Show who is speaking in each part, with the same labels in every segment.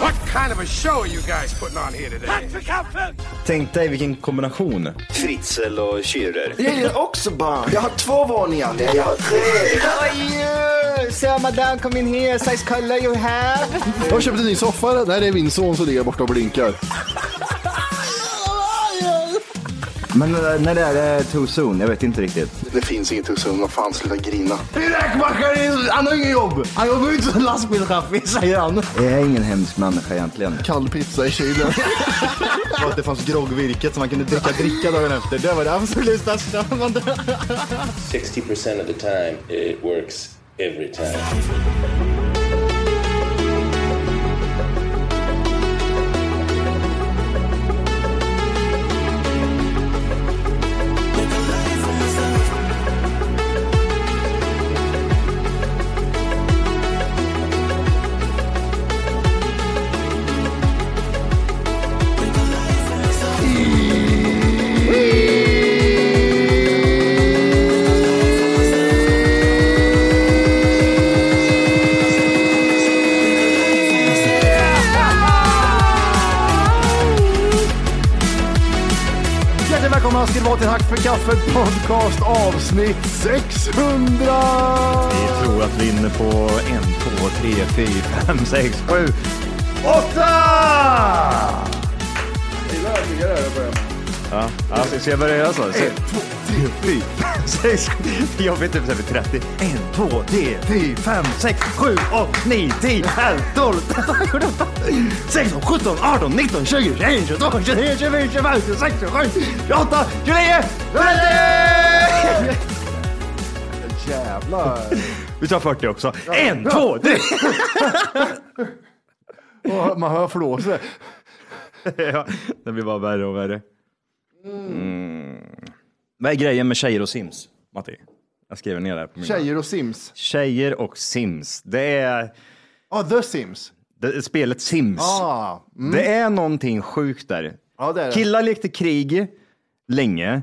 Speaker 1: What kind of a show are you guys putting on here today?
Speaker 2: Tänk dig vilken kombination.
Speaker 3: Fritzl och Schürrer.
Speaker 4: Jag är också barn. Jag har två våningar. Nej, jag har tre.
Speaker 2: How are you? Sir, madame, come in here. Size color you have.
Speaker 5: Jag har köpt en ny soffa. Det där är min son som ligger borta och blinkar.
Speaker 2: Men eh, när det är eh, too soon? Jag vet inte riktigt.
Speaker 4: Det finns inget hos honom. Fan, sluta grina.
Speaker 5: Räkmackaren, han har inget jobb. Han jobbar inte som lastbilschaffis, säger han.
Speaker 2: Jag är ingen hemsk människa egentligen.
Speaker 5: Kall pizza i kylen.
Speaker 2: Och att det fanns groggvirket som man kunde dricka dricka dagen efter. Det var det absolut största.
Speaker 3: 60% of the time, it works every time.
Speaker 5: Hjärtligt välkomna ska ni vara till Hack för kaffet podcast avsnitt 600!
Speaker 2: Vi tror att vi är inne på en, två, tre, fyra, fem, sex, sju, åtta! Ja, alltså, ska jag börja göra så? Se- Fy, sex, sju. Jag vet inte, typ så här vid 30. En, två, tre, fyra, fem, sex, sju, åtta, nio, tio, elva, tolv, tretton, fjorton, sexton, sjutton, arton, nitton, tjugo, tjugoen, tjugotvå, tjugotrettio, tjugofyra, tjugofem, tjugosex, tjugosju, tjugoåtta, tjugonio, trettio!
Speaker 5: Jävlar!
Speaker 2: Vi tar 40 också. En, två, tre!
Speaker 5: Och Man hör flåset.
Speaker 2: ja, det blir bara värre och värre. Mm. Vad är grejen med tjejer och sims, Matti? Jag skriver ner det här på min
Speaker 5: Tjejer och Sims.
Speaker 2: Tjejer och sims. Det är,
Speaker 5: Ja, The Sims.
Speaker 2: det är spelet Sims.
Speaker 5: Ah,
Speaker 2: Det är någonting sjukt där.
Speaker 5: Ja, det är det.
Speaker 2: Killar lekte krig länge,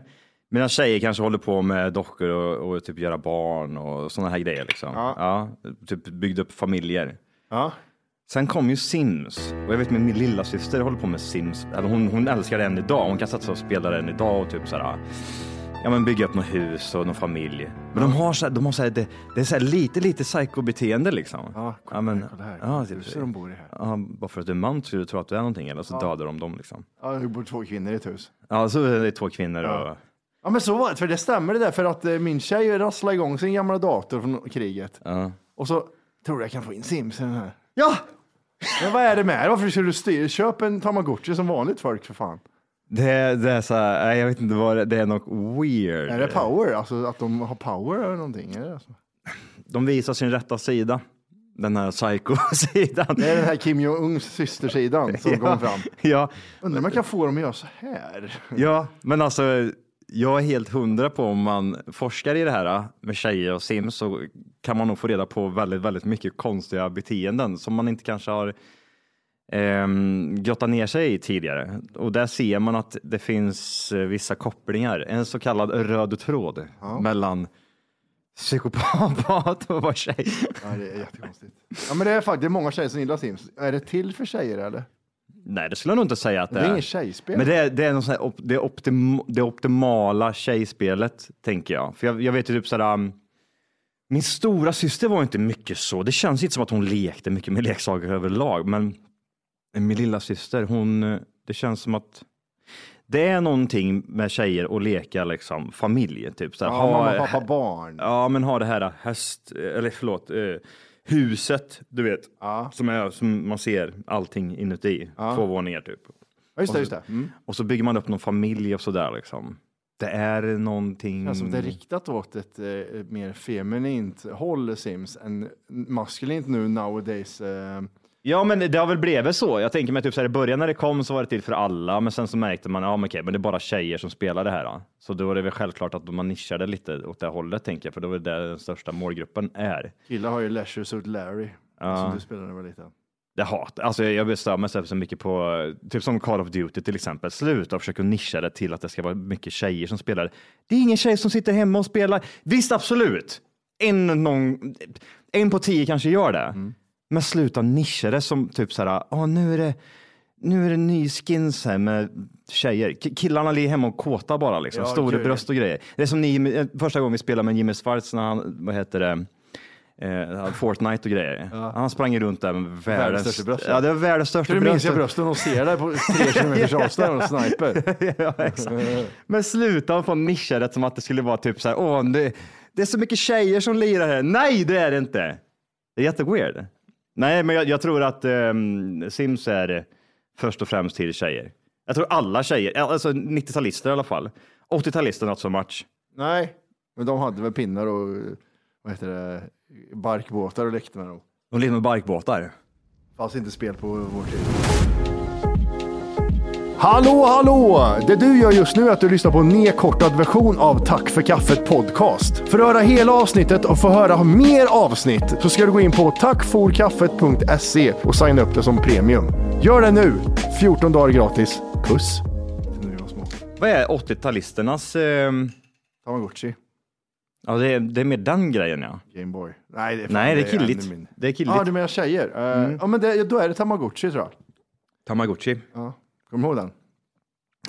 Speaker 2: medan tjejer kanske håller på med dockor och, och typ göra barn och sådana här grejer. Liksom. Ja. typ byggde upp familjer.
Speaker 5: Ja.
Speaker 2: Sen kom ju Sims. Och jag vet min, min lilla syster håller på med Sims. Eller hon, hon älskar den idag. Hon kan satsa och spela den idag och typ sådär. Ja men bygga upp något hus och någon familj. Men de har såhär, de har såhär, det, det är såhär lite, lite psykobeteende liksom.
Speaker 5: Ja,
Speaker 2: ja men.
Speaker 5: kolla här.
Speaker 2: Ja,
Speaker 5: Det är så de bor i här.
Speaker 2: Ja, bara för att du är man så du tror att du är någonting eller så dödar de dem liksom.
Speaker 5: Ja, det bor två kvinnor i ett hus.
Speaker 2: Ja, så är det två kvinnor och...
Speaker 5: Ja. Ja men så var det, för det stämmer det där för att eh, min tjej rasslade igång sin gamla dator från kriget. Och så tror jag jag kan få in Sims i den här. Ja! Men vad är det med det? Varför ska du styra? Köp en tamagotchi som vanligt folk för fan.
Speaker 2: Det, det är så här, nej, jag vet inte vad det, det är något weird.
Speaker 5: Är det power? Alltså att de har power eller någonting? Är det alltså?
Speaker 2: De visar sin rätta sida. Den här psycho-sidan.
Speaker 5: Det är den här Kim Jong-Uns systersidan som kommer fram.
Speaker 2: Ja,
Speaker 5: Undrar om jag kan få dem att göra så här.
Speaker 2: ja, men alltså jag är helt hundra på om man forskar i det här äh, med tjejer och sims så kan man nog få reda på väldigt, väldigt mycket konstiga beteenden som man inte kanske har ehm, grottat ner sig i tidigare. Och där ser man att det finns eh, vissa kopplingar, en så kallad röd tråd mellan psykopat och vad tjej.
Speaker 5: Ja, det är jättekonstigt. Ja, men det är faktiskt det är många tjejer som gillar Sims. Är det till för tjejer eller?
Speaker 2: Nej, det skulle jag nog inte säga att det,
Speaker 5: Det är inget tjejspel.
Speaker 2: Men det är, det är någon sån här op, det, optim, det optimala tjejspelet, tänker jag. För jag, jag vet ju typ sådär, um, min stora syster var inte mycket så. Det känns inte som att hon lekte mycket med leksaker överlag, men min lilla syster, hon, eh, det känns som att det är någonting med tjejer och leka liksom familj, typ så här,
Speaker 5: Ja,
Speaker 2: ha-
Speaker 5: mamma, pappa, barn.
Speaker 2: Ja, men ha det här eh, höst, eller förlåt, eh, huset, du vet, som, är, som man ser allting inuti, två våningar typ.
Speaker 5: Ja, just det, just det. Mm.
Speaker 2: Och så bygger man upp någon familj och sådär liksom. Det är någonting.
Speaker 5: Känns som Alltså, det är riktat åt ett eh, mer feminint håll, Sims, än maskulint nu nowadays. Eh,
Speaker 2: Ja, men det har väl blivit så. Jag tänker mig typ så här i början när det kom så var det till för alla, men sen så märkte man, ja men okej, men det är bara tjejer som spelar det här. Då. Så då är det väl självklart att man nischade lite åt det hållet tänker jag, för då är det den största målgruppen är.
Speaker 5: killar har ju Leisure Suit Larry, som du spelade när du var liten.
Speaker 2: Jag hatar, alltså jag, jag stör mig så så mycket på, eh, typ som Call of Duty till exempel, sluta försöka nischa det till att det ska vara mycket tjejer som spelar. Det är ingen tjej som sitter hemma och spelar. Visst, absolut. En, någon, en på tio kanske gör det.
Speaker 5: Mm.
Speaker 2: Men sluta nischa det som typ så här, ah, nu är det nu är det ny skins här med tjejer. K- killarna ligger hemma och kåta bara liksom.
Speaker 5: Ja,
Speaker 2: Stora
Speaker 5: gud.
Speaker 2: bröst och grejer. Det är som ni, eh, första gången vi spelade med Jimmy Schwartz när han, vad heter det, eh, Fortnite och grejer. Han sprang ju runt där med världens,
Speaker 5: största bröst, ja.
Speaker 2: Ja, det var världens största
Speaker 5: Du minns
Speaker 2: bröst.
Speaker 5: jag brösten och ser där på tre kilometers avstånd och sniper.
Speaker 2: ja, exakt. Men sluta få nischa det som att det skulle vara typ så här, åh, det, det är så mycket tjejer som lirar här. Nej, det är det inte. Det är jätteweird. Nej, men jag, jag tror att ehm, Sims är först och främst till tjejer. Jag tror alla tjejer, alltså 90-talister i alla fall. 80-talister not so much.
Speaker 5: Nej, men de hade väl pinnar och eh, vad heter det, barkbåtar och lekte med dem.
Speaker 2: De lever med barkbåtar.
Speaker 5: Fanns inte spel på vår tid. Hallå, hallå! Det du gör just nu är att du lyssnar på en nedkortad version av Tack för kaffet podcast. För att höra hela avsnittet och få höra mer avsnitt så ska du gå in på tackforkaffet.se och signa upp det som premium. Gör det nu! 14 dagar gratis. Puss! Nu är de små.
Speaker 2: Vad är 80-talisternas, ehm,
Speaker 5: Tamagotchi.
Speaker 2: ja det är, det är mer den grejen ja.
Speaker 5: Gameboy. Nej, det är, fan-
Speaker 2: Nej, det är
Speaker 5: ännu
Speaker 2: killigt.
Speaker 5: mindre.
Speaker 2: Det är killigt.
Speaker 5: Ja, du menar tjejer? Eh, Ja, men det, då är det Tamagotchi tror jag.
Speaker 2: Tamagotchi.
Speaker 5: Kommer du ihåg den?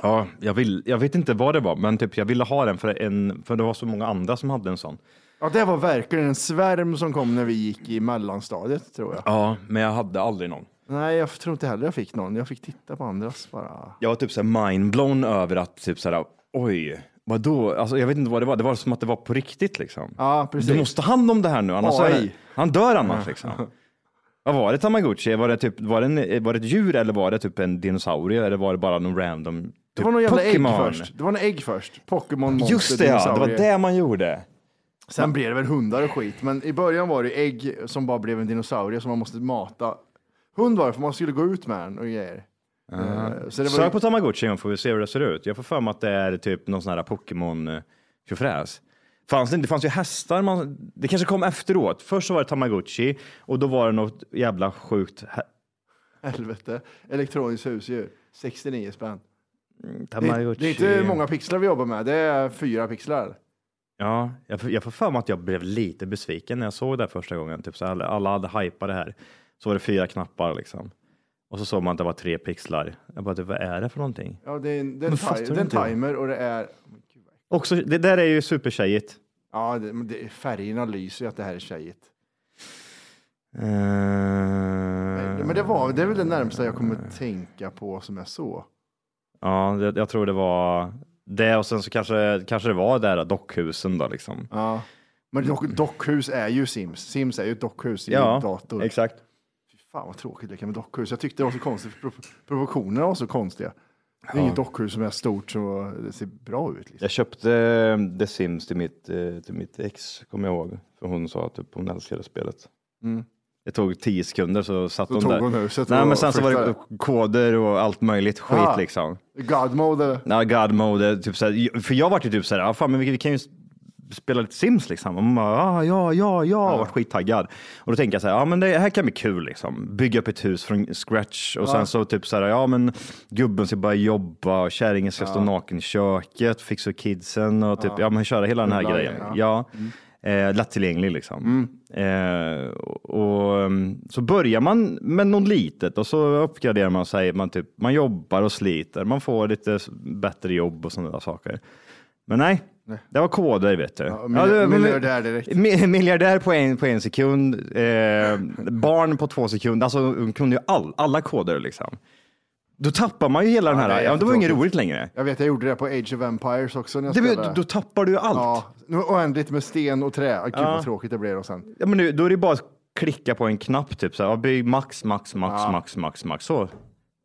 Speaker 2: Ja, jag, vill, jag vet inte vad det var, men typ jag ville ha den för, en, för det var så många andra som hade en sån.
Speaker 5: Ja, det var verkligen en svärm som kom när vi gick i mellanstadiet tror jag.
Speaker 2: Ja, men jag hade aldrig någon.
Speaker 5: Nej, jag tror inte heller jag fick någon. Jag fick titta på andras bara.
Speaker 2: Jag var typ så här mindblown över att typ så här, oj, vadå? Alltså, jag vet inte vad det var. Det var som att det var på riktigt liksom.
Speaker 5: Ja, precis.
Speaker 2: Du måste ta hand om det här nu, annars är det,
Speaker 5: AI.
Speaker 2: han dör annars liksom. Vad var det Tamagotchi? Var det, typ, var, det en, var det ett djur eller var det typ en dinosaurie eller var det bara någon random? Typ
Speaker 5: Det var någon jävla
Speaker 2: Pokémon?
Speaker 5: ägg först. Det var en ägg först. Pokémon, monster,
Speaker 2: Just det ja, det var
Speaker 5: dinosaurie.
Speaker 2: det man gjorde.
Speaker 5: Sen blev det väl hundar och skit, men i början var det ägg som bara blev en dinosaurie som man måste mata. Hund var det, för man skulle gå ut med den och grejer. Eh, Så det var
Speaker 2: Sök på Tamagotchi igen får vi se hur det ser ut. Jag får för mig att det är typ någon sån här Pokémon tjofräs. Fanns det, inte- det fanns ju hästar, man, det kanske kom efteråt. Först så var det Tamagotchi och då var det något jävla sjukt hä-
Speaker 5: helvete. Elektroniskt husdjur. 69 spänn. Det är,
Speaker 2: Tamagotchi.
Speaker 5: det är inte många pixlar vi jobbar med, det är fyra pixlar.
Speaker 2: Ja, jag, får- jag får för mig att jag blev lite besviken när jag såg det här första gången. Typ så här, alla hade hypat det här. Så var det fyra knappar liksom. Och så såg man att det var tre pixlar. Jag bara, vad är det för någonting?
Speaker 5: Ja, det är en, det är en,
Speaker 2: Men fattar
Speaker 5: ti-
Speaker 2: du
Speaker 5: det är en
Speaker 2: inte?
Speaker 5: timer och det är...
Speaker 2: Också, det där är ju supertjejigt.
Speaker 5: Ja, det, men det, färgerna lyser ju att det här är tjejigt.
Speaker 2: Eh,
Speaker 5: Men det, var, det är väl det närmsta jag kommer tänka på som är så.
Speaker 2: Ja, jag, jag tror det var Det och sen så kanske, kanske det var där dockhusen då liksom.
Speaker 6: Ja. Men dock, dockhus är ju Sims. Sims är ju ett dockhus i
Speaker 2: Ja,
Speaker 6: en dator.
Speaker 2: exakt.
Speaker 6: Fan vad tråkigt leka med dockhus. Jag tyckte det var så konstigt. för pro- Proportionerna var så konstiga. Det är inget dockhus som är stort så det ser bra ut. Liksom.
Speaker 2: Jag köpte eh, The Sims till mitt, eh, till mitt ex, kommer jag ihåg. För hon sa att typ, hon älskade spelet. Det tog tio sekunder så satt
Speaker 6: Mm. Så
Speaker 2: hon
Speaker 6: tog
Speaker 2: där.
Speaker 6: hon huset
Speaker 2: Nej,
Speaker 6: och
Speaker 2: men sen så var det
Speaker 6: flyttade.
Speaker 2: koder och allt möjligt skit
Speaker 6: Ah.
Speaker 2: liksom.
Speaker 6: God mode eller?
Speaker 2: Ja, God mode, typ såhär, för jag var ju typ såhär, ja fan men vi, vi kan ju spela lite Sims liksom. Och man bara, ah, ja, ja, ja, och vart skittaggad. Och då tänker jag såhär, ja men det här kan bli kul liksom. Bygga upp ett hus från scratch och sen så typ såhär, ja men gubben ska bara jobba och kärringen ska stå naken i köket, fixa kidsen och typ, ja, men köra hela den här
Speaker 6: Hela
Speaker 2: grejen.
Speaker 6: grejen,
Speaker 2: Ja. Eh, lättillgänglig liksom. Eh, och, um, så börjar man med något litet och så uppgraderar man sig. Man, typ, man jobbar och sliter, man får lite s- bättre jobb och sådana där saker. Men nej, det var koder vet du. Ja,
Speaker 6: miljö-
Speaker 2: det-
Speaker 6: miljardär direkt.
Speaker 2: mi- Miljardär på en, på en sekund, eh, barn på två sekunder. Alltså hon kunde ju all, alla koder liksom. Då tappar man ju hela den här,
Speaker 6: det är
Speaker 2: ja, det var ju inget
Speaker 6: jättetråkigt.
Speaker 2: roligt längre.
Speaker 6: Jag vet, jag gjorde det på Age of Empires också när jag
Speaker 2: Det, var ju-
Speaker 6: spelade.
Speaker 2: då tappar du ju allt.
Speaker 6: ja, nu oändligt med sten och trä. Ah, Gud vad tråkigt det blev då sen.
Speaker 2: Ja, men nu, då är det bara att klicka på en knapp, typ så här, ja, bygg max, max, max, max, max, max. Så.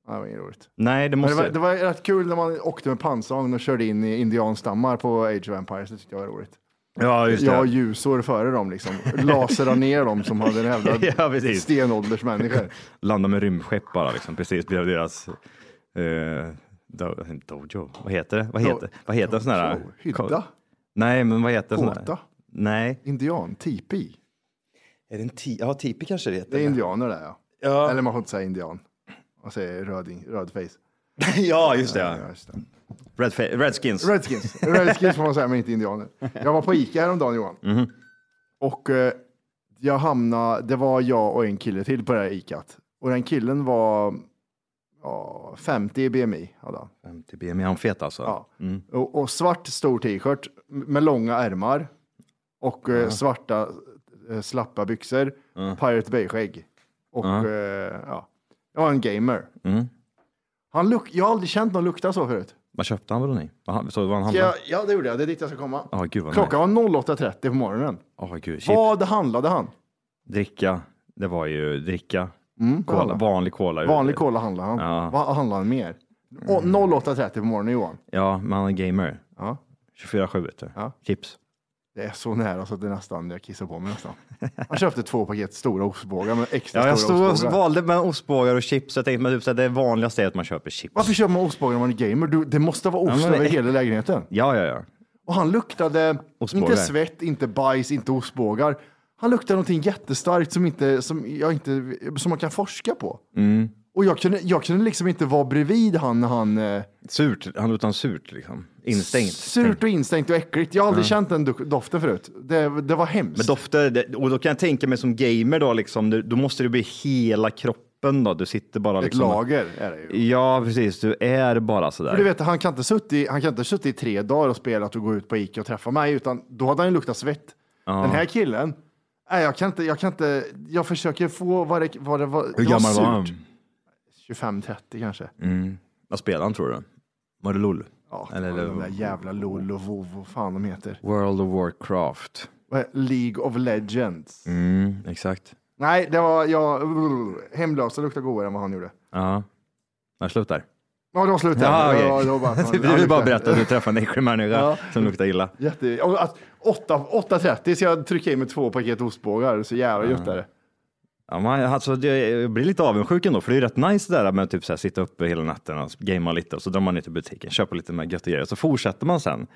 Speaker 6: Ja, det var inget roligt.
Speaker 2: Nej, det
Speaker 6: Men det,
Speaker 2: måste...
Speaker 6: var, det var rätt kul när man åkte med pansarvagn och körde in i indianstammar på Age of Empires. Det tyckte jag var roligt.
Speaker 2: Ja, just det.
Speaker 6: Jag har ljusår före dem liksom. Laserar ner dem som hade en jävla
Speaker 2: Ja, precis.
Speaker 6: stenåldersmänniskor.
Speaker 2: Landa med rymdskepp bara, liksom, precis bredvid deras... Eh, do, dojo? Vad heter det? Vad heter, vad heter en sån här...
Speaker 6: dojo? Hydda?
Speaker 2: Nej, men vad heter en sån här?
Speaker 6: Kåta?
Speaker 2: Nej.
Speaker 6: Indian, tipi.
Speaker 2: Är det en ti- ja, tipi kanske det heter.
Speaker 6: Det är indianer där ja.
Speaker 2: Ja.
Speaker 6: Eller man får inte säga indian. Man säger röding, rödface.
Speaker 2: ja, just det. Ja.
Speaker 6: Ja, just det.
Speaker 2: Red, Redskins.
Speaker 6: Redskins. Redskins får man säga, men inte indianer. Jag var på Ica häromdagen Johan.
Speaker 2: Mhm.
Speaker 6: Och eh, jag hamnade, det var jag och en kille till på det här Icat. Och den killen var ja, 50 i BMI. Hade han.
Speaker 2: Till BMI, han fet alltså.
Speaker 6: Ja. Och, och svart stor t-shirt med långa ärmar. Och eh, svarta eh, slappa byxor. Pirate Bay-skägg. Och eh, ja, jag var en gamer. Han luk- jag har aldrig känt någon lukta så förut.
Speaker 2: Vad köpte han väl ni? Vad han- Så vad han
Speaker 6: Ska jag,
Speaker 2: handlade?
Speaker 6: ja, det gjorde jag. Det är dit jag ska komma.
Speaker 2: Ja, gud vad
Speaker 6: Klockan var 08.30 på morgonen.
Speaker 2: Åh gud, shit.
Speaker 6: Vad handlade han?
Speaker 2: Dricka, det var ju dricka.
Speaker 6: Mm,
Speaker 2: Cola,
Speaker 6: alla.
Speaker 2: Vanlig cola.
Speaker 6: Vanlig cola handlade han.
Speaker 2: Ja. Mm.
Speaker 6: Vad handlade han mer? Åh, 08.30 på morgonen Johan.
Speaker 2: Ja, men han är gamer.
Speaker 6: Ja.
Speaker 2: 24-7 vet du.
Speaker 6: Ja.
Speaker 2: Chips.
Speaker 6: Det är så nära så att det nästan, jag kissar på mig nästan. Han köpte två paket stora ostbågar med extra
Speaker 2: Ja, jag
Speaker 6: stora
Speaker 2: stod och
Speaker 6: ostbågar.
Speaker 2: valde mellan ostbågar och chips. Jag tänkte men typ, så här, det vanligaste är att man köper chips.
Speaker 6: Varför köper man ostbågar när man är gamer? Du, det måste vara ost
Speaker 2: Ja, men-
Speaker 6: över hela lägenheten.
Speaker 2: Ja, ja, ja.
Speaker 6: Och han luktade
Speaker 2: Ostbågar.
Speaker 6: inte svett, inte bajs, inte ostbågar. Han luktade någonting jättestarkt som, inte, som, jag inte, som man kan forska på.
Speaker 2: Mm.
Speaker 6: Och jag kunde, jag kunde liksom inte vara bredvid han när han... Eh,
Speaker 2: Surt. Han luktar surt liksom. Instängt.
Speaker 6: Surt och instängt och äckligt. Jag har aldrig känt den do- doften förut. Det, det var hemskt.
Speaker 2: Men dofter, det- och då kan jag tänka mig som gamer då liksom, du- då måste det bli hela kroppen då. Du sitter bara
Speaker 6: Ett
Speaker 2: liksom.
Speaker 6: lager är det ju.
Speaker 2: Ja, precis. Du är bara
Speaker 6: För du
Speaker 2: sådär.
Speaker 6: vet, han kan inte suttit- han kan inte suttit i tre dagar och spelat och gå ut på Ica och träffa mig, utan då hade han ju luktat svett. Den här killen, nej, jag kan inte, jag kan inte, jag försöker få vad det vad det var.
Speaker 2: Hur
Speaker 6: det var
Speaker 2: gammal var han?
Speaker 6: surt. 25-30 kanske.
Speaker 2: Vad spelade han tror du? Var det LOL?
Speaker 6: Ja,
Speaker 2: Eller-
Speaker 6: eller, de där
Speaker 2: eller-
Speaker 6: jävla LOL och WoW och fan de heter.
Speaker 2: World of Warcraft.
Speaker 6: Vad är- League of Legends.
Speaker 2: Mm, exakt.
Speaker 6: Nej, det var, jag, hemlösa luktar godare än vad han gjorde.
Speaker 2: Ja. Jag slutar.
Speaker 6: Ja, det var slut där.
Speaker 2: Ja, okej.
Speaker 6: Det var- det var bara-
Speaker 2: du
Speaker 6: han
Speaker 2: vill bara
Speaker 6: luktar-
Speaker 2: berätta att du träffade en äcklig människa
Speaker 6: Ja.
Speaker 2: som luktar illa.
Speaker 6: Jätte... och att 8 8.30 ska jag trycka in med två paket ostbågar. Så jävla gött är det.
Speaker 2: Ja, man, alltså, det- jag blir lite avundsjuk ändå, för det är rätt nice det där med att typ, så här, sitta uppe hela natten och gamea lite och så drar man ner till butiken, köper lite med göttiga grejer och så fortsätter man sen.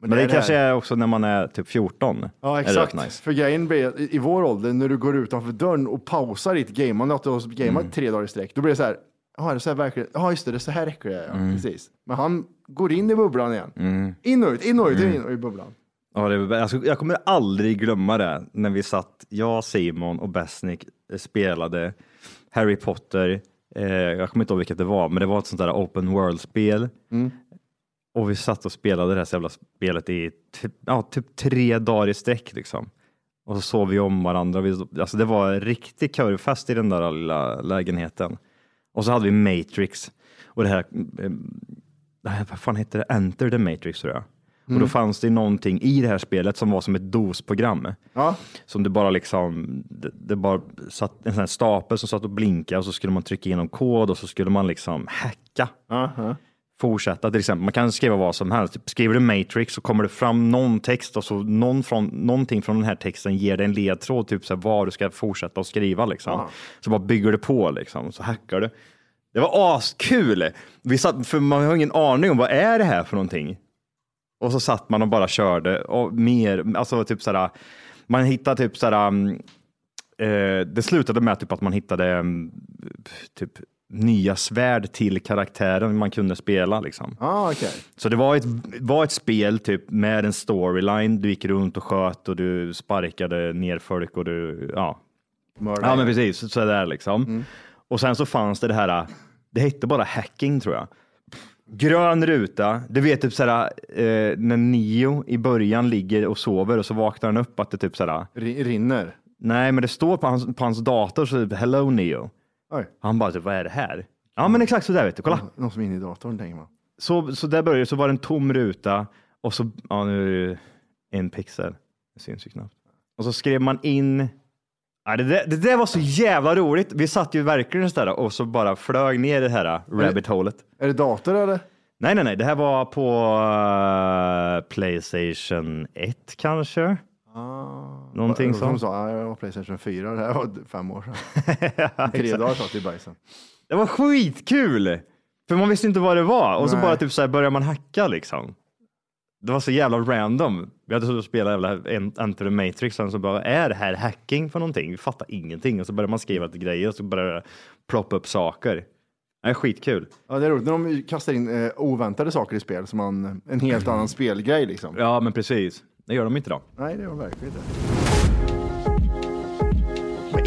Speaker 2: Men det,
Speaker 6: det är det
Speaker 2: kanske är också när man är typ 14.
Speaker 6: Ja,
Speaker 2: Är rätt
Speaker 6: exakt.
Speaker 2: nice.
Speaker 6: För grejen blir, i i vår ålder, när du går utanför dörren och pausar ditt gamande, att du har gameat
Speaker 2: Mm.
Speaker 6: tre dagar i sträck, då blir det så här, ja, är det så här verkligen? Ja, just det, det är så här räcker det. Ja.
Speaker 2: Mm.
Speaker 6: Precis. Men han går in i bubblan igen. In och ut, in och ut,
Speaker 2: Mm.
Speaker 6: in och ut i bubblan.
Speaker 2: Ja, det, alltså, jag kommer aldrig glömma det när vi satt, jag, Simon och Besnik eh, spelade Harry Potter. Eh, jag kommer inte ihåg vilket det var, men det var ett sånt där open world-spel. Och vi satt och spelade det här jävla spelet i typ, ja, typ tre dagar i sträck liksom. Och så sov vi om varandra. Vi, alltså, det var en riktig körfest i den där lilla lägenheten. Och så hade vi Matrix och det här eh, nej, vad fan hette det? Enter the Matrix tror jag. Och då fanns det någonting i det här spelet som var som ett DOS-program.
Speaker 6: Ja.
Speaker 2: Som det bara liksom, det, det bara satt en sån här stapel som satt och blinkade och så skulle man trycka in någon kod och så skulle man liksom hacka. Fortsätta till exempel, man kan skriva vad som helst. Typ, Skriver du Matrix så kommer det fram någon text och så någon från, någonting från den här texten ger dig en ledtråd, typ så här, vad du ska fortsätta att skriva liksom. Så bara bygger du på liksom, så hackar du. Det var askul! Vi satt, för man har ingen aning om vad är det här för någonting. Och så satt man och bara körde och mer, alltså typ sådär, man hittade typ sådär, mm, eh, det slutade med typ att man hittade mm, typ nya svärd till karaktären man kunde spela liksom.
Speaker 6: Ah, okej.
Speaker 2: Så det var ett, var ett spel typ med en storyline, du gick runt och sköt och du sparkade ner folk och du, ja,
Speaker 6: Mörda.
Speaker 2: Ja, men precis. Sådär liksom. Och sen så fanns det det här, det hette bara hacking tror jag. Grön ruta, du vet typ såhär eh, när Neo i början ligger och sover och så vaknar han upp att det typ såhär,
Speaker 6: Ri- Rinner.
Speaker 2: nej men det står på hans, på hans dator så typ hello Neo.
Speaker 6: Oj, Mm.
Speaker 2: Han bara typ, vad är det här? Ja men exakt sådär vet du, kolla.
Speaker 6: någon som är inne i datorn tänker man.
Speaker 2: Så, så där började det, så var det en tom ruta och så, ja nu är det ju en pixel, det syns ju knappt. Och så skrev man in, ja, det, där, det där var så jävla roligt. Vi satt ju verkligen så där och så bara flög ner i det här rabbit holet.
Speaker 6: Är det dator eller?
Speaker 2: Nej, nej, nej, det här var på eh, Playstation 1 kanske? Någonting
Speaker 6: Som
Speaker 2: sånt.
Speaker 6: sa, ja, jag Ah. var Playstation 4, det här var fem år sedan. Tre dagar satt i bajsen.
Speaker 2: Det var skitkul! För man visste inte vad det var och så
Speaker 6: Nej.
Speaker 2: bara typ så här började man hacka liksom. Det var så jävla random. Vi hade suttit och spelat jävla En- Enter the Matrix och så bara, är det här hacking för någonting? Vi fattar ingenting. Och så började man skriva lite grejer och så började det ploppa upp saker. Det är skitkul.
Speaker 6: Ja, det är roligt när de kastar in eh, oväntade saker i spel, som man, en helt
Speaker 2: Mm.
Speaker 6: annan spelgrej liksom.
Speaker 2: Ja, men precis. Det gör de inte då.
Speaker 6: Nej, det var verkligen inte. Men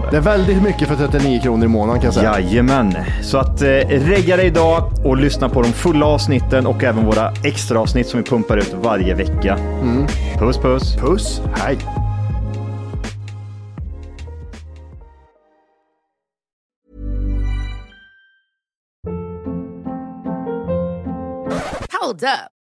Speaker 2: det.
Speaker 6: Det är väldigt mycket för 39 kronor i månaden kan jag säga.
Speaker 2: Jajamän, så att eh, regga dig idag och lyssna på de fulla avsnitten och även våra extra avsnitt som vi pumpar ut varje vecka. Puss puss!
Speaker 6: Mm. Puss, hej.
Speaker 7: Hold up.